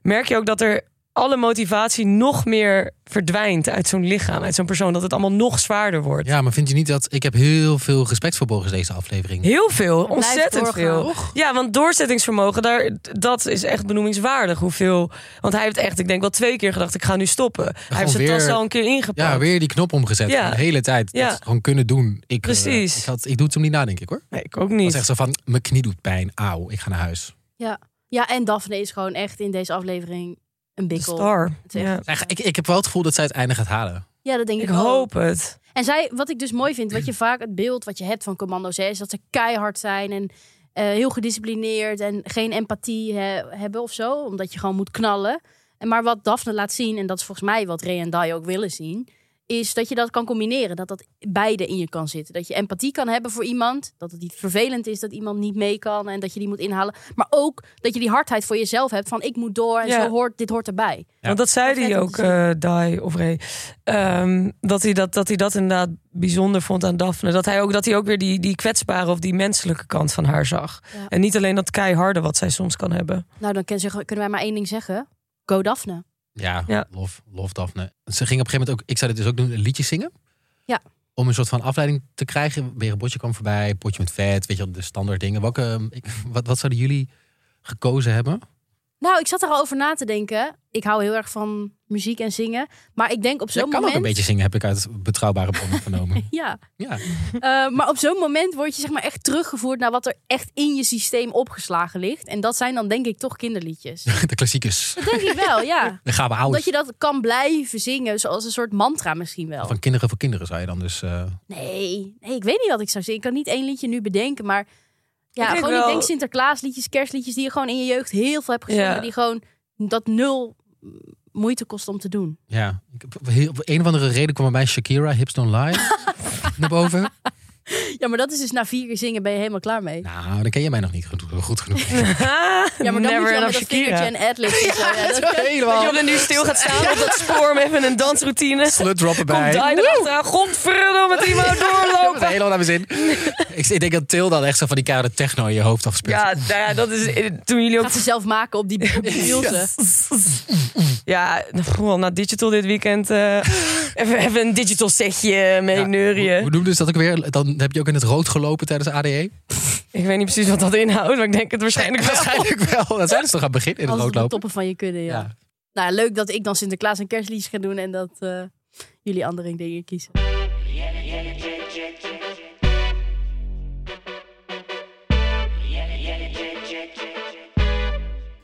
Speaker 3: merk je ook dat er alle motivatie nog meer verdwijnt uit zo'n lichaam, uit zo'n persoon. Dat het allemaal nog zwaarder wordt.
Speaker 1: Ja, maar vind je niet dat... Ik heb heel veel respect voor Boris deze aflevering.
Speaker 3: Heel veel, ontzettend
Speaker 2: doorgaan.
Speaker 3: veel.
Speaker 1: Toch?
Speaker 3: Ja, want doorzettingsvermogen, daar, dat is echt benoemingswaardig. Hoeveel, want hij heeft echt, ik denk wel twee keer gedacht, ik ga nu stoppen. hij heeft zijn
Speaker 1: weer-
Speaker 3: tas al een keer ingepakt.
Speaker 1: Ja, weer die knop omgezet.
Speaker 3: Ja.
Speaker 1: De hele tijd.
Speaker 3: Ja.
Speaker 1: Dat gewoon kunnen doen. Ik, eh,
Speaker 3: Precies.
Speaker 1: ik, had, ik doe het hem niet na, denk ik hoor.
Speaker 3: Nee, ik ook
Speaker 1: Het
Speaker 3: niet.
Speaker 1: was echt zo van, mijn knie doet pijn. Auw, ik ga naar huis.
Speaker 2: Ja, en Daphne is gewoon echt in deze aflevering een
Speaker 3: De
Speaker 2: bikkel.
Speaker 3: star.
Speaker 2: Het is echt-
Speaker 3: Ja.
Speaker 1: Echt, ik, ik heb wel het gevoel dat zij het einde gaat halen.
Speaker 2: Ja, dat denk ik,
Speaker 3: Ik
Speaker 2: ook.
Speaker 3: hoop het.
Speaker 2: En zij, wat ik dus mooi vind, wat je vaak het beeld wat je hebt van commando's, hè, is dat ze keihard zijn en eh, heel gedisciplineerd en geen empathie hè, hebben of zo, omdat je gewoon moet knallen. En maar wat Daphne laat zien, en dat is volgens mij wat Ray en Dai ook willen zien, is dat je dat kan combineren, dat dat beide in je kan zitten. Dat je empathie kan hebben voor iemand, dat het niet vervelend is dat iemand niet mee kan en dat je die moet inhalen. Maar ook dat je die hardheid voor jezelf hebt van ik moet door en
Speaker 3: Ja.
Speaker 2: zo hoort, dit hoort erbij.
Speaker 1: Ja.
Speaker 3: Want dat zei
Speaker 2: Wat
Speaker 3: hij
Speaker 2: vet om
Speaker 3: ook,
Speaker 2: te zien.
Speaker 3: eh Dai of Ray. Ehm, dat, hij dat, dat hij dat inderdaad bijzonder vond aan Daphne. Dat hij ook, dat hij ook weer die, die kwetsbare of die menselijke kant van haar zag.
Speaker 2: Ja.
Speaker 3: En niet alleen dat keiharde wat zij soms kan hebben.
Speaker 2: Nou, dan kun- kunnen wij maar één ding zeggen. Go Daphne.
Speaker 1: Ja,
Speaker 3: Ja.
Speaker 1: Lof, lof Daphne. Ze ging op een gegeven moment ook, ik zou dit dus ook doen, liedjes zingen.
Speaker 2: Ja.
Speaker 1: Om een soort van afleiding te krijgen. Weer een bordje kwam voorbij, potje met vet, weet je wel, de standaard dingen. Welke, ehm, ik, wat, wat zouden jullie gekozen hebben?
Speaker 2: Nou, ik zat er al over na te denken. Ik hou heel erg van muziek en zingen. Maar ik denk op
Speaker 1: Jij
Speaker 2: zo'n
Speaker 1: kan
Speaker 2: moment...
Speaker 1: ook een beetje zingen, heb ik uit betrouwbare bronnen vernomen.
Speaker 2: Ja,
Speaker 1: Ja,
Speaker 2: Eh, maar op zo'n moment word je zeg maar echt teruggevoerd... naar wat er echt in je systeem opgeslagen ligt. En dat zijn dan denk ik toch kinderliedjes. Dat
Speaker 1: de klassiekers.
Speaker 2: denk ik wel, ja.
Speaker 1: Dan gaan we oud.
Speaker 2: Dat je dat kan blijven zingen, zoals een soort mantra misschien wel.
Speaker 1: Van kinderen voor kinderen zou je dan dus... eh,
Speaker 2: Nee, nee, ik weet niet wat ik zou zingen. Ik kan niet één liedje nu bedenken, maar... Ja,
Speaker 3: Ik denk
Speaker 2: gewoon ik
Speaker 3: wel-
Speaker 2: denk Sinterklaasliedjes, kerstliedjes... die je gewoon in je jeugd heel veel hebt gezongen.
Speaker 3: Ja.
Speaker 2: Die gewoon dat nul moeite kost om te doen.
Speaker 1: ja, ik heb- op heel- op een of andere reden kwam bij mij Shakira, Hips Don't Lie, naar boven.
Speaker 2: Ja, maar dat is dus na vier keer zingen ben je helemaal klaar mee.
Speaker 1: Nou, dan ken je mij nog niet goed, goed genoeg.
Speaker 2: Ja, maar dan moet je wel met dat vingertje en adlibs en zo. Ja, dat-
Speaker 3: Dat
Speaker 1: Helemaal.
Speaker 3: je nu stil gaat staan op dat spoor met even een dansroutine.
Speaker 1: Slut droppen
Speaker 3: Komt
Speaker 1: bij.
Speaker 3: Dai erachteraan. Godverdomme, met iemand
Speaker 1: Dat
Speaker 3: doorlopen.
Speaker 1: is helemaal naar mijn zin. ik, ik denk dat Til dan echt zo van die koude techno in je hoofd afspeelt.
Speaker 3: Ja, nou ja, dat is toen jullie ook
Speaker 2: Gaat ze zelf maken op die, op die wielsen.
Speaker 3: Ja, goh, na Digital dit weekend. eh, even, even een digital setje eh, mee
Speaker 1: Ja, Hoe, hoe
Speaker 3: neurien.
Speaker 1: noemden ze dat ook weer? Dan heb je ook in het rood gelopen tijdens E? ADE?
Speaker 3: Ik weet niet precies wat dat inhoudt, maar ik denk het waarschijnlijk wel.
Speaker 1: Waarschijnlijk wel. Dat zijn ze toch aan het begin in het
Speaker 2: Als
Speaker 1: rood
Speaker 2: het de
Speaker 1: lopen?
Speaker 2: toppen van je kudde, ja.
Speaker 1: Ja.
Speaker 2: Nou, leuk dat ik dan Sinterklaas en kerstliedjes ga doen en dat eh, jullie andere dingen kiezen.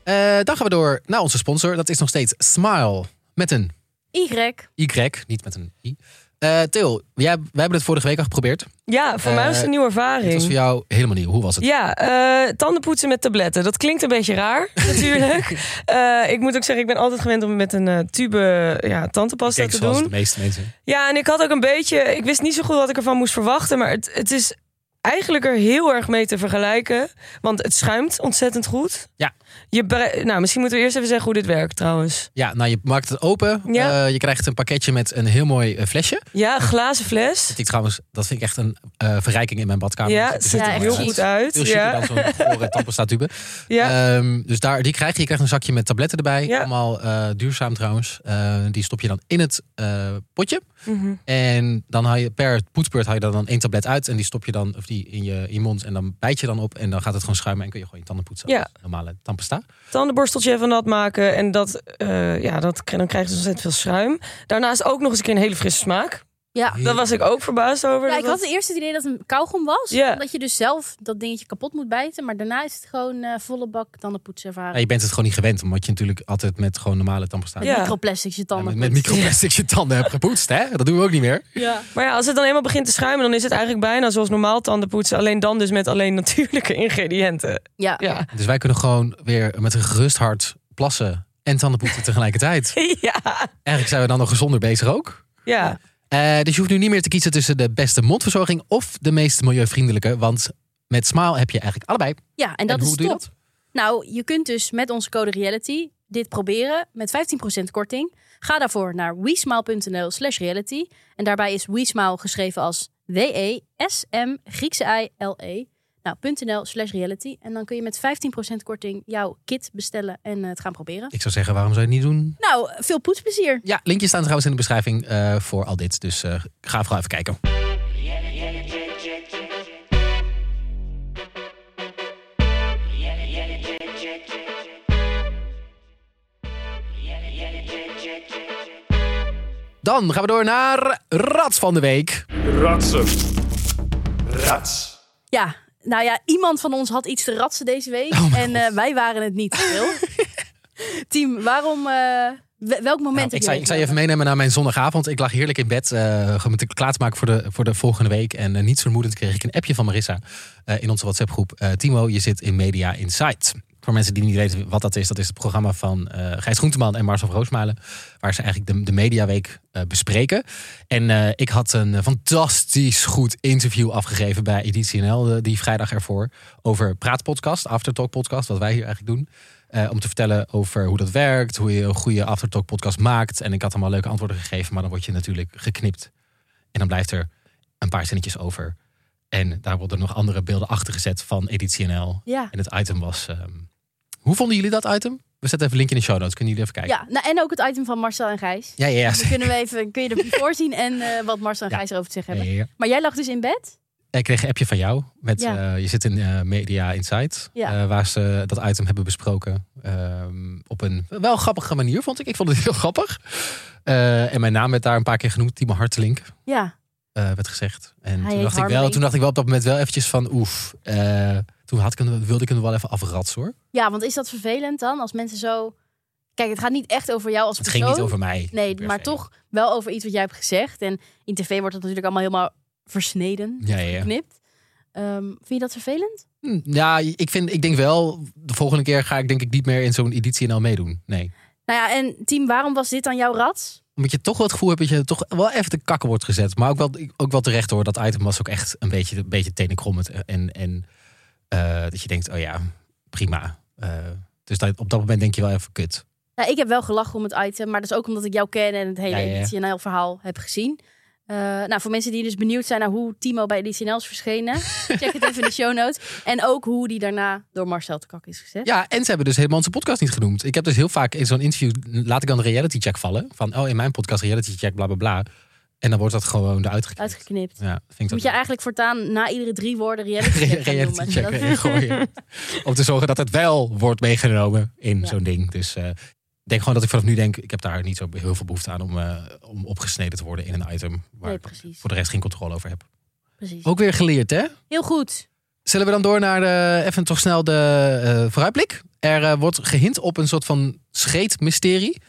Speaker 1: Eh, dan gaan we door naar onze sponsor. Dat is nog steeds Smile. Met een
Speaker 2: Y.
Speaker 1: Y, niet met een I. Eh Til, jij, wij hebben het vorige week al geprobeerd.
Speaker 3: Ja, voor mij was het een nieuwe ervaring.
Speaker 1: Het Eh, was voor jou helemaal nieuw. Hoe was het?
Speaker 3: Ja, eh, tandenpoetsen met tabletten. Dat klinkt een beetje raar, natuurlijk. Eh, ik moet ook zeggen, ik ben altijd gewend om met een eh, tube ja,
Speaker 1: ik
Speaker 3: tandenpasta
Speaker 1: denk
Speaker 3: te
Speaker 1: zoals
Speaker 3: doen.
Speaker 1: de meeste mensen.
Speaker 3: Ja, en ik had ook een beetje. Ik wist niet zo goed wat ik ervan moest verwachten. Maar het, het is eigenlijk er heel erg mee te vergelijken. Want het schuimt ontzettend goed.
Speaker 1: Ja.
Speaker 3: Je bre- nou, misschien moeten we eerst even zeggen hoe dit werkt trouwens.
Speaker 1: Ja, nou je maakt het open.
Speaker 3: Ja.
Speaker 1: Eh, je krijgt een pakketje met een heel mooi eh, flesje.
Speaker 3: Ja, een glazen fles.
Speaker 1: Dat, ik trouwens, dat vind ik echt een eh, verrijking in mijn badkamer.
Speaker 3: Ja,
Speaker 1: Dus
Speaker 3: het
Speaker 1: is
Speaker 3: ziet
Speaker 2: Ja,
Speaker 3: er
Speaker 1: echt
Speaker 3: heel Eh.
Speaker 1: mooi.
Speaker 3: goed uit.
Speaker 1: Veel chiquer
Speaker 3: Ja.
Speaker 1: dan zo'n gore tandpasta-tube.
Speaker 3: Ja.
Speaker 1: Ehm, dus daar, die krijg je. Je krijgt een zakje met tabletten erbij.
Speaker 3: Ja.
Speaker 1: Allemaal eh, duurzaam trouwens. Eh, die stop je dan in het eh, potje.
Speaker 3: Mhm.
Speaker 1: En dan haal je per poetsbeurt haal je daar dan één tablet uit. En die stop je dan of die in, je, in je mond. En dan bijt je dan op. En dan gaat het gewoon schuimen. En kun je gewoon je tanden poetsen.
Speaker 3: Ja.
Speaker 1: als Normale tandpasta.
Speaker 3: Tandenborsteltje even nat maken. En dat, eh, ja, dat, dan krijg je ontzettend veel schuim. Daarnaast ook nog eens een keer een hele frisse smaak.
Speaker 2: Ja.
Speaker 3: Daar was ik ook verbaasd over.
Speaker 2: ja,
Speaker 3: dat
Speaker 2: ik
Speaker 3: dat-
Speaker 2: had eerst het idee dat het een kauwgom was.
Speaker 3: Ja.
Speaker 2: Omdat je dus zelf dat dingetje kapot moet bijten. Maar daarna is het gewoon eh volle bak tandenpoetservaring.
Speaker 1: Ja, Nou, je bent het gewoon niet gewend. Omdat je natuurlijk altijd met gewoon normale tandpasta...
Speaker 3: Ja.
Speaker 2: Microplastics je
Speaker 1: en
Speaker 2: tanden.
Speaker 1: met, met microplastics je tanden hebt gepoetst. Hè? Dat doen we ook niet meer.
Speaker 2: Ja.
Speaker 3: Maar ja, als het dan eenmaal begint te schuimen, dan is het eigenlijk bijna zoals normaal tandenpoetsen. Alleen dan dus met alleen natuurlijke ingrediënten.
Speaker 2: Ja.
Speaker 3: Ja.
Speaker 1: Dus wij kunnen gewoon weer met een gerust hart plassen en tandenpoetsen tegelijkertijd.
Speaker 3: ja.
Speaker 1: Eigenlijk zijn we dan nog gezonder bezig ook.
Speaker 3: ja.
Speaker 1: Eh, dus je hoeft nu niet meer te kiezen tussen de beste mondverzorging of de meest milieuvriendelijke. Want met Smaal heb je eigenlijk allebei.
Speaker 2: Ja, en dat
Speaker 1: en hoe
Speaker 2: is
Speaker 1: doe je
Speaker 2: top.
Speaker 1: dat?
Speaker 2: Nou, je kunt dus met onze code reality dit proberen met 15% korting. Ga daarvoor naar weesmaal.nl slash reality. En daarbij is weesmaal geschreven als W-E-S-M Griekse I-L-E. Nou, .nl slash reality. En dan kun je met 15% korting jouw kit bestellen en eh, het gaan proberen.
Speaker 1: Ik zou zeggen, waarom zou je het niet doen?
Speaker 2: Nou, veel poetsplezier.
Speaker 1: Ja, linkjes staan trouwens in de beschrijving eh, voor al dit. Dus eh, ga vooral even kijken. Dan gaan we door naar Rad van de Week.
Speaker 4: Ratsen. Rats.
Speaker 2: Ja, nou ja, iemand van ons had iets te ratsen deze week.
Speaker 1: Oh
Speaker 2: en eh, wij waren het niet. Wil. Team, waarom... eh, wel- welk moment heb
Speaker 1: Nou, ik,
Speaker 2: jij
Speaker 1: zou, ik zou je
Speaker 2: genomen?
Speaker 1: even meenemen naar mijn zondagavond. Ik lag heerlijk in bed, eh gewoon met de klaarmaken voor de, voor de volgende week. En eh, niet vermoedend kreeg ik een appje van Marissa eh, in onze WhatsApp-groep. Eh, Timo, je zit in Media Insight. Voor mensen die niet weten wat dat is, dat is het programma van eh Gijs Groenteman en Marcel van Roosmalen. Waar ze eigenlijk de, de Mediaweek eh, bespreken. En eh, ik had een eh, fantastisch goed interview afgegeven bij Editie NL eh, die vrijdag ervoor. Over Praatpodcast, Aftertalk Podcast, wat wij hier eigenlijk doen. Eh, om te vertellen over hoe dat werkt, hoe je een goede Aftertalk podcast maakt. En ik had allemaal leuke antwoorden gegeven, maar dan word je natuurlijk geknipt. En dan blijft er een paar zinnetjes over. En daar worden nog andere beelden achter gezet van Editie NL.
Speaker 2: Ja.
Speaker 1: En het item was... ehm, hoe vonden jullie dat item? We zetten even een linkje in de show notes, kunnen jullie even kijken.
Speaker 2: Ja, nou, en ook het item van Marcel en Gijs.
Speaker 1: Ja, ja, ja.
Speaker 2: Dan kunnen we even, kun je er voor zien en eh, wat Marcel en
Speaker 1: Ja.
Speaker 2: Gijs erover te zeggen
Speaker 1: Ja,
Speaker 2: hebben.
Speaker 1: ja, ja.
Speaker 2: Maar jij lag dus in bed?
Speaker 1: Ik kreeg een appje van jou. Met,
Speaker 2: Ja.
Speaker 1: eh, je zit in eh, Media Insight.
Speaker 2: Ja.
Speaker 1: eh, waar ze dat item hebben besproken. ehm, op een wel grappige manier, vond ik. Ik vond het heel grappig. Eh, en mijn naam werd daar een paar keer genoemd. Timo Hartelink
Speaker 2: Ja.
Speaker 1: eh, werd gezegd. En
Speaker 2: Hij
Speaker 1: toen
Speaker 2: heet
Speaker 1: dacht, ik wel,
Speaker 2: Harmeling.
Speaker 1: toen dacht ik wel op dat moment wel eventjes van oef. eh, toen had ik hem, wilde ik hem wel even afratsen hoor.
Speaker 2: ja, want is dat vervelend dan? Als mensen zo... Kijk, het gaat niet echt over jou als
Speaker 1: Het
Speaker 2: persoon.
Speaker 1: ging niet over mij.
Speaker 2: Nee,
Speaker 1: per
Speaker 2: maar
Speaker 1: se.
Speaker 2: toch wel over iets wat jij hebt gezegd. En in tv wordt dat natuurlijk allemaal helemaal versneden,
Speaker 1: Ja, ja, ja.
Speaker 2: geknipt. Ehm, vind je dat vervelend?
Speaker 1: Hm, Ja, ik, vind, ik denk wel, de volgende keer ga ik denk ik niet meer in zo'n editie NL meedoen. Nee.
Speaker 2: Nou ja, en team, waarom was dit dan jouw rats?
Speaker 1: Omdat je toch wel het gevoel hebt dat je toch wel even de kakken wordt gezet. Maar ook wel, ook wel terecht hoor. Dat item was ook echt een beetje, een beetje tenenkrommend. En, en eh, dat je denkt, oh ja, prima. Eh, dus dat, op dat moment denk je wel even kut.
Speaker 2: Nou, ik heb wel gelachen om het item, maar dat is ook omdat ik jou ken en het hele
Speaker 1: Ja, ja, ja.
Speaker 2: editie en heel verhaal heb gezien. Eh, nou, voor mensen die dus benieuwd zijn naar hoe Timo bij Editie NL is verschenen, check het even in de show notes. En ook hoe die daarna door Marcel te kak is gezet.
Speaker 1: Ja, en ze hebben dus helemaal onze podcast niet genoemd. Ik heb dus heel vaak in zo'n interview, laat ik dan de reality check vallen. Van, oh in mijn podcast reality check, bla bla bla. En dan wordt dat gewoon eruit geknipt.
Speaker 2: Uitgeknipt.
Speaker 1: Ja, vind ik
Speaker 2: Moet
Speaker 1: dat
Speaker 2: je eigenlijk voortaan na iedere drie woorden reality check
Speaker 1: Re-
Speaker 2: gaan
Speaker 1: reality
Speaker 2: noemen.
Speaker 1: check
Speaker 2: Dat-
Speaker 1: erin gooien. Om te zorgen dat het wel wordt meegenomen in
Speaker 2: Ja.
Speaker 1: zo'n ding. Dus eh, ik denk gewoon dat ik vanaf nu denk, ik heb daar niet zo heel veel behoefte aan om, eh, om opgesneden te worden in een item waar
Speaker 2: Nee,
Speaker 1: ik
Speaker 2: precies.
Speaker 1: voor de rest geen controle over heb.
Speaker 2: precies.
Speaker 1: Ook weer geleerd, hè?
Speaker 2: Heel goed.
Speaker 1: Zullen we dan door naar de, even toch snel de eh, vooruitblik? Er eh, wordt gehint op een soort van scheetmysterie.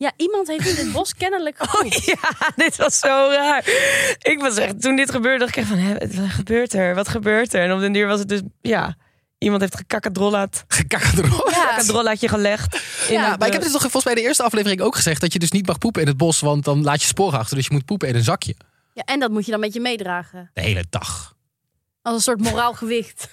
Speaker 2: Ja, iemand heeft in het bos kennelijk
Speaker 1: Oh,
Speaker 2: gepoept.
Speaker 3: Ja, dit was zo raar. Ik was echt, toen dit gebeurde, dacht ik echt van, hè, wat gebeurt er? Wat gebeurt er? En op den duur was het dus, ja, iemand heeft gekakadrollaat,
Speaker 1: Gekakkerd erop.
Speaker 2: Ja.
Speaker 3: kakadrollaatje gelegd. in
Speaker 1: Ja,
Speaker 3: het,
Speaker 1: maar ik
Speaker 3: eh,
Speaker 1: heb dit toch volgens mij in de eerste aflevering ook gezegd... dat je dus niet mag poepen in het bos, want dan laat je sporen achter. Dus je moet poepen in een zakje.
Speaker 2: Ja, en dat moet je dan met je meedragen.
Speaker 1: De hele dag.
Speaker 2: Als een soort moraal gewicht.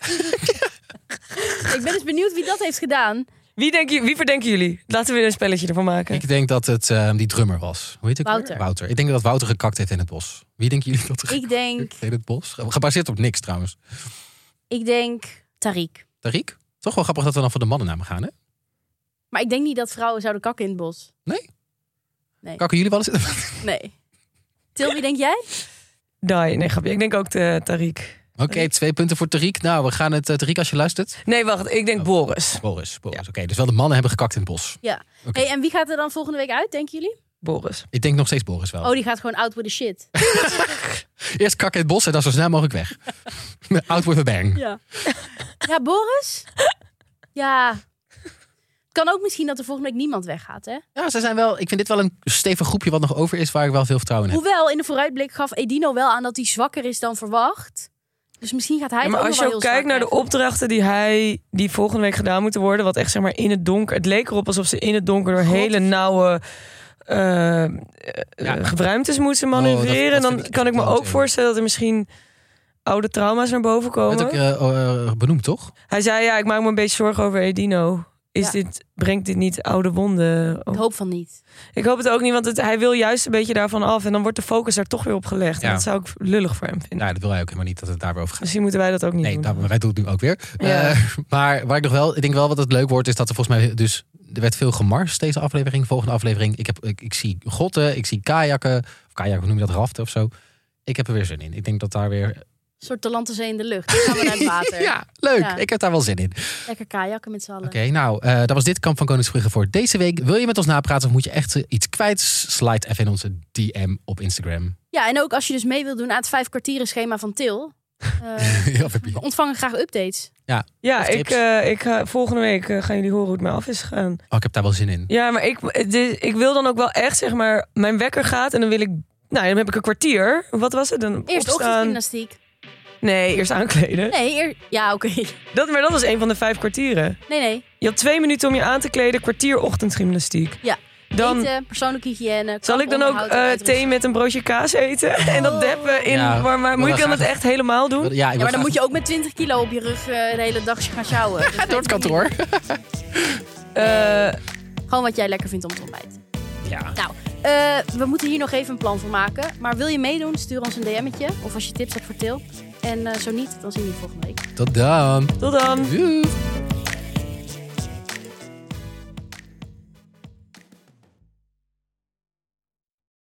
Speaker 2: ik ben dus benieuwd wie dat heeft gedaan.
Speaker 3: Wie, denken, wie verdenken jullie? Laten we er een spelletje ervan maken.
Speaker 1: dus- Ik denk dat het ehm, die drummer was. Hoe heet het?
Speaker 2: Wouter.
Speaker 1: Wouter. Ik denk dat Wouter gekakt heeft in het bos. Wie denken jullie dat er
Speaker 2: Ik denk,
Speaker 1: gekakt heeft in het bos? Gebaseerd op niks trouwens.
Speaker 2: ik denk Tariq.
Speaker 1: Tariq? Toch wel grappig dat we dan voor de mannennamen gaan, hè?
Speaker 2: Maar ik denk niet dat vrouwen zouden kakken in het bos.
Speaker 1: Nee?
Speaker 2: Nee.
Speaker 1: Kakken jullie wel eens?
Speaker 2: Nee. Til, wie denk jij?
Speaker 3: Nee, nee, grapje. Ik denk ook de Tariq.
Speaker 1: Oké, twee punten voor Tariq. Nou, we gaan het... eh, Tariq, als je luistert.
Speaker 3: Nee, wacht. Ik
Speaker 1: Oh.
Speaker 3: denk Boris.
Speaker 1: Boris, Boris.
Speaker 3: Ja.
Speaker 1: Oké, dus wel de mannen hebben gekakt in het bos.
Speaker 2: Ja.
Speaker 1: Oké.
Speaker 2: Hey, en wie gaat er dan volgende week uit, denken jullie?
Speaker 3: Boris.
Speaker 1: Ik denk nog steeds Boris wel.
Speaker 2: Oh, die gaat gewoon out with the shit.
Speaker 1: Eerst kakken in het bos en dan zo snel mogelijk weg. Out with a bang.
Speaker 2: Ja. Ja, Boris? Ja. Het kan ook misschien dat er volgende week niemand weggaat, hè?
Speaker 1: Ja, ze zijn wel... Ik vind dit wel een stevig groepje wat nog over is... waar ik wel veel vertrouwen in heb.
Speaker 2: Hoewel, in de vooruitblik gaf Edino wel aan dat hij zwakker is dan verwacht. Dus misschien gaat hij
Speaker 3: Ja,
Speaker 2: het
Speaker 3: maar
Speaker 2: ook
Speaker 3: als je
Speaker 2: nog wel
Speaker 3: ook
Speaker 2: heel
Speaker 3: kijkt
Speaker 2: zwaar
Speaker 3: naar de
Speaker 2: krijgen.
Speaker 3: opdrachten die hij die volgende week gedaan moeten worden, wat echt zeg maar in het donker. Het leek erop alsof ze in het donker door
Speaker 2: God.
Speaker 3: hele nauwe eh eh, ruimtes moeten
Speaker 1: Oh, dat-
Speaker 3: manoeuvreren.
Speaker 1: dat
Speaker 3: dan
Speaker 1: vind ik
Speaker 3: kan ik me
Speaker 1: doodeng.
Speaker 3: ook voorstellen dat er misschien oude trauma's naar boven
Speaker 1: Dat
Speaker 3: komen.
Speaker 1: heb ik eh, eh, benoemd, toch?
Speaker 3: Hij zei ja, ik maak me een beetje zorgen over Edino. Is
Speaker 2: Ja.
Speaker 3: dit, brengt dit niet oude wonden? op?
Speaker 2: Ik hoop van niet.
Speaker 3: Ik hoop het ook niet, want het- hij wil juist een beetje daarvan af. En dan wordt de focus daar toch weer op gelegd. En
Speaker 1: Ja.
Speaker 3: dat zou ik lullig voor hem vinden.
Speaker 1: Nou, dat wil hij ook helemaal niet dat het daarover gaat.
Speaker 3: Misschien moeten wij dat ook niet
Speaker 1: Nee,
Speaker 3: doen.
Speaker 1: nou, maar wij doen het nu ook weer.
Speaker 3: Ja.
Speaker 1: Eh, maar waar ik nog wel, ik denk wel wat het leuk wordt, is dat er volgens mij dus er werd veel gemarst deze aflevering, volgende aflevering. Ik, heb, ik, ik zie gotten, ik zie kajakken, of kajakken, hoe noem je dat, raften of zo. Ik heb er weer zin in. Ik denk dat daar weer.
Speaker 2: Een soort Talantenzee in de lucht. Dan gaan we naar het water.
Speaker 1: Ja, leuk.
Speaker 2: Ja.
Speaker 1: Ik heb daar wel zin in.
Speaker 2: Lekker kajakken met z'n allen.
Speaker 1: Oké, nou, eh, dat was dit Kamp van Koningsbrugge voor deze week. Wil je met ons napraten of moet je echt eh, iets kwijt? Slide even in onze DM op Instagram.
Speaker 2: Ja, en ook als je dus mee wilt doen aan het vijf kwartieren schema van Til. eh,
Speaker 1: Ja, heb je-
Speaker 2: we ontvangen graag updates.
Speaker 3: Ja,
Speaker 1: Of
Speaker 3: ik,
Speaker 1: tips.
Speaker 3: eh, ik ga, volgende week eh, gaan jullie horen hoe het mij af is gegaan.
Speaker 1: Oh, ik heb daar wel zin in.
Speaker 3: Ja, maar ik, eh, dit- ik wil dan ook wel echt, zeg maar, mijn wekker gaat en dan wil ik... Nou, dan heb ik een kwartier. Wat was het? Dan
Speaker 2: Eerst
Speaker 3: opstaan.
Speaker 2: ochtendgymnastiek.
Speaker 3: Nee, eerst aankleden.
Speaker 2: Nee, eer... ja, oké.
Speaker 3: Dat, maar dat was een van de vijf kwartieren.
Speaker 2: Nee, nee.
Speaker 3: Je had twee minuten om je aan te kleden, kwartier ochtendgymnastiek.
Speaker 2: Ja.
Speaker 3: Dan
Speaker 2: Eten, eh, persoonlijke hygiëne.
Speaker 3: zal ik dan ook
Speaker 2: onderhoud Oh. en
Speaker 3: eh,
Speaker 2: uitrusting.
Speaker 3: thee met een broodje kaas eten en dat deppen in...
Speaker 1: Ja,
Speaker 3: maar, maar
Speaker 1: ik
Speaker 3: moet
Speaker 1: wil
Speaker 3: ik dan
Speaker 1: graag-
Speaker 3: dat echt helemaal doen?
Speaker 1: Ja, ik
Speaker 2: Ja, maar dan moet je ook met 20 kilo op je rug eh een hele dag gaan sjouwen. Dat weet
Speaker 1: door het
Speaker 2: ik niet.
Speaker 1: kantoor.
Speaker 3: Eh,
Speaker 2: Gewoon wat jij lekker vindt om te ontbijten.
Speaker 1: Ja.
Speaker 2: Nou, eh, we moeten hier nog even een plan voor maken. Maar wil je meedoen, stuur ons een DM'tje. Of als je tips hebt, vertel. En eh, zo niet, dan zien we je volgende week.
Speaker 1: Tot dan.
Speaker 3: tot dan!
Speaker 1: Doei.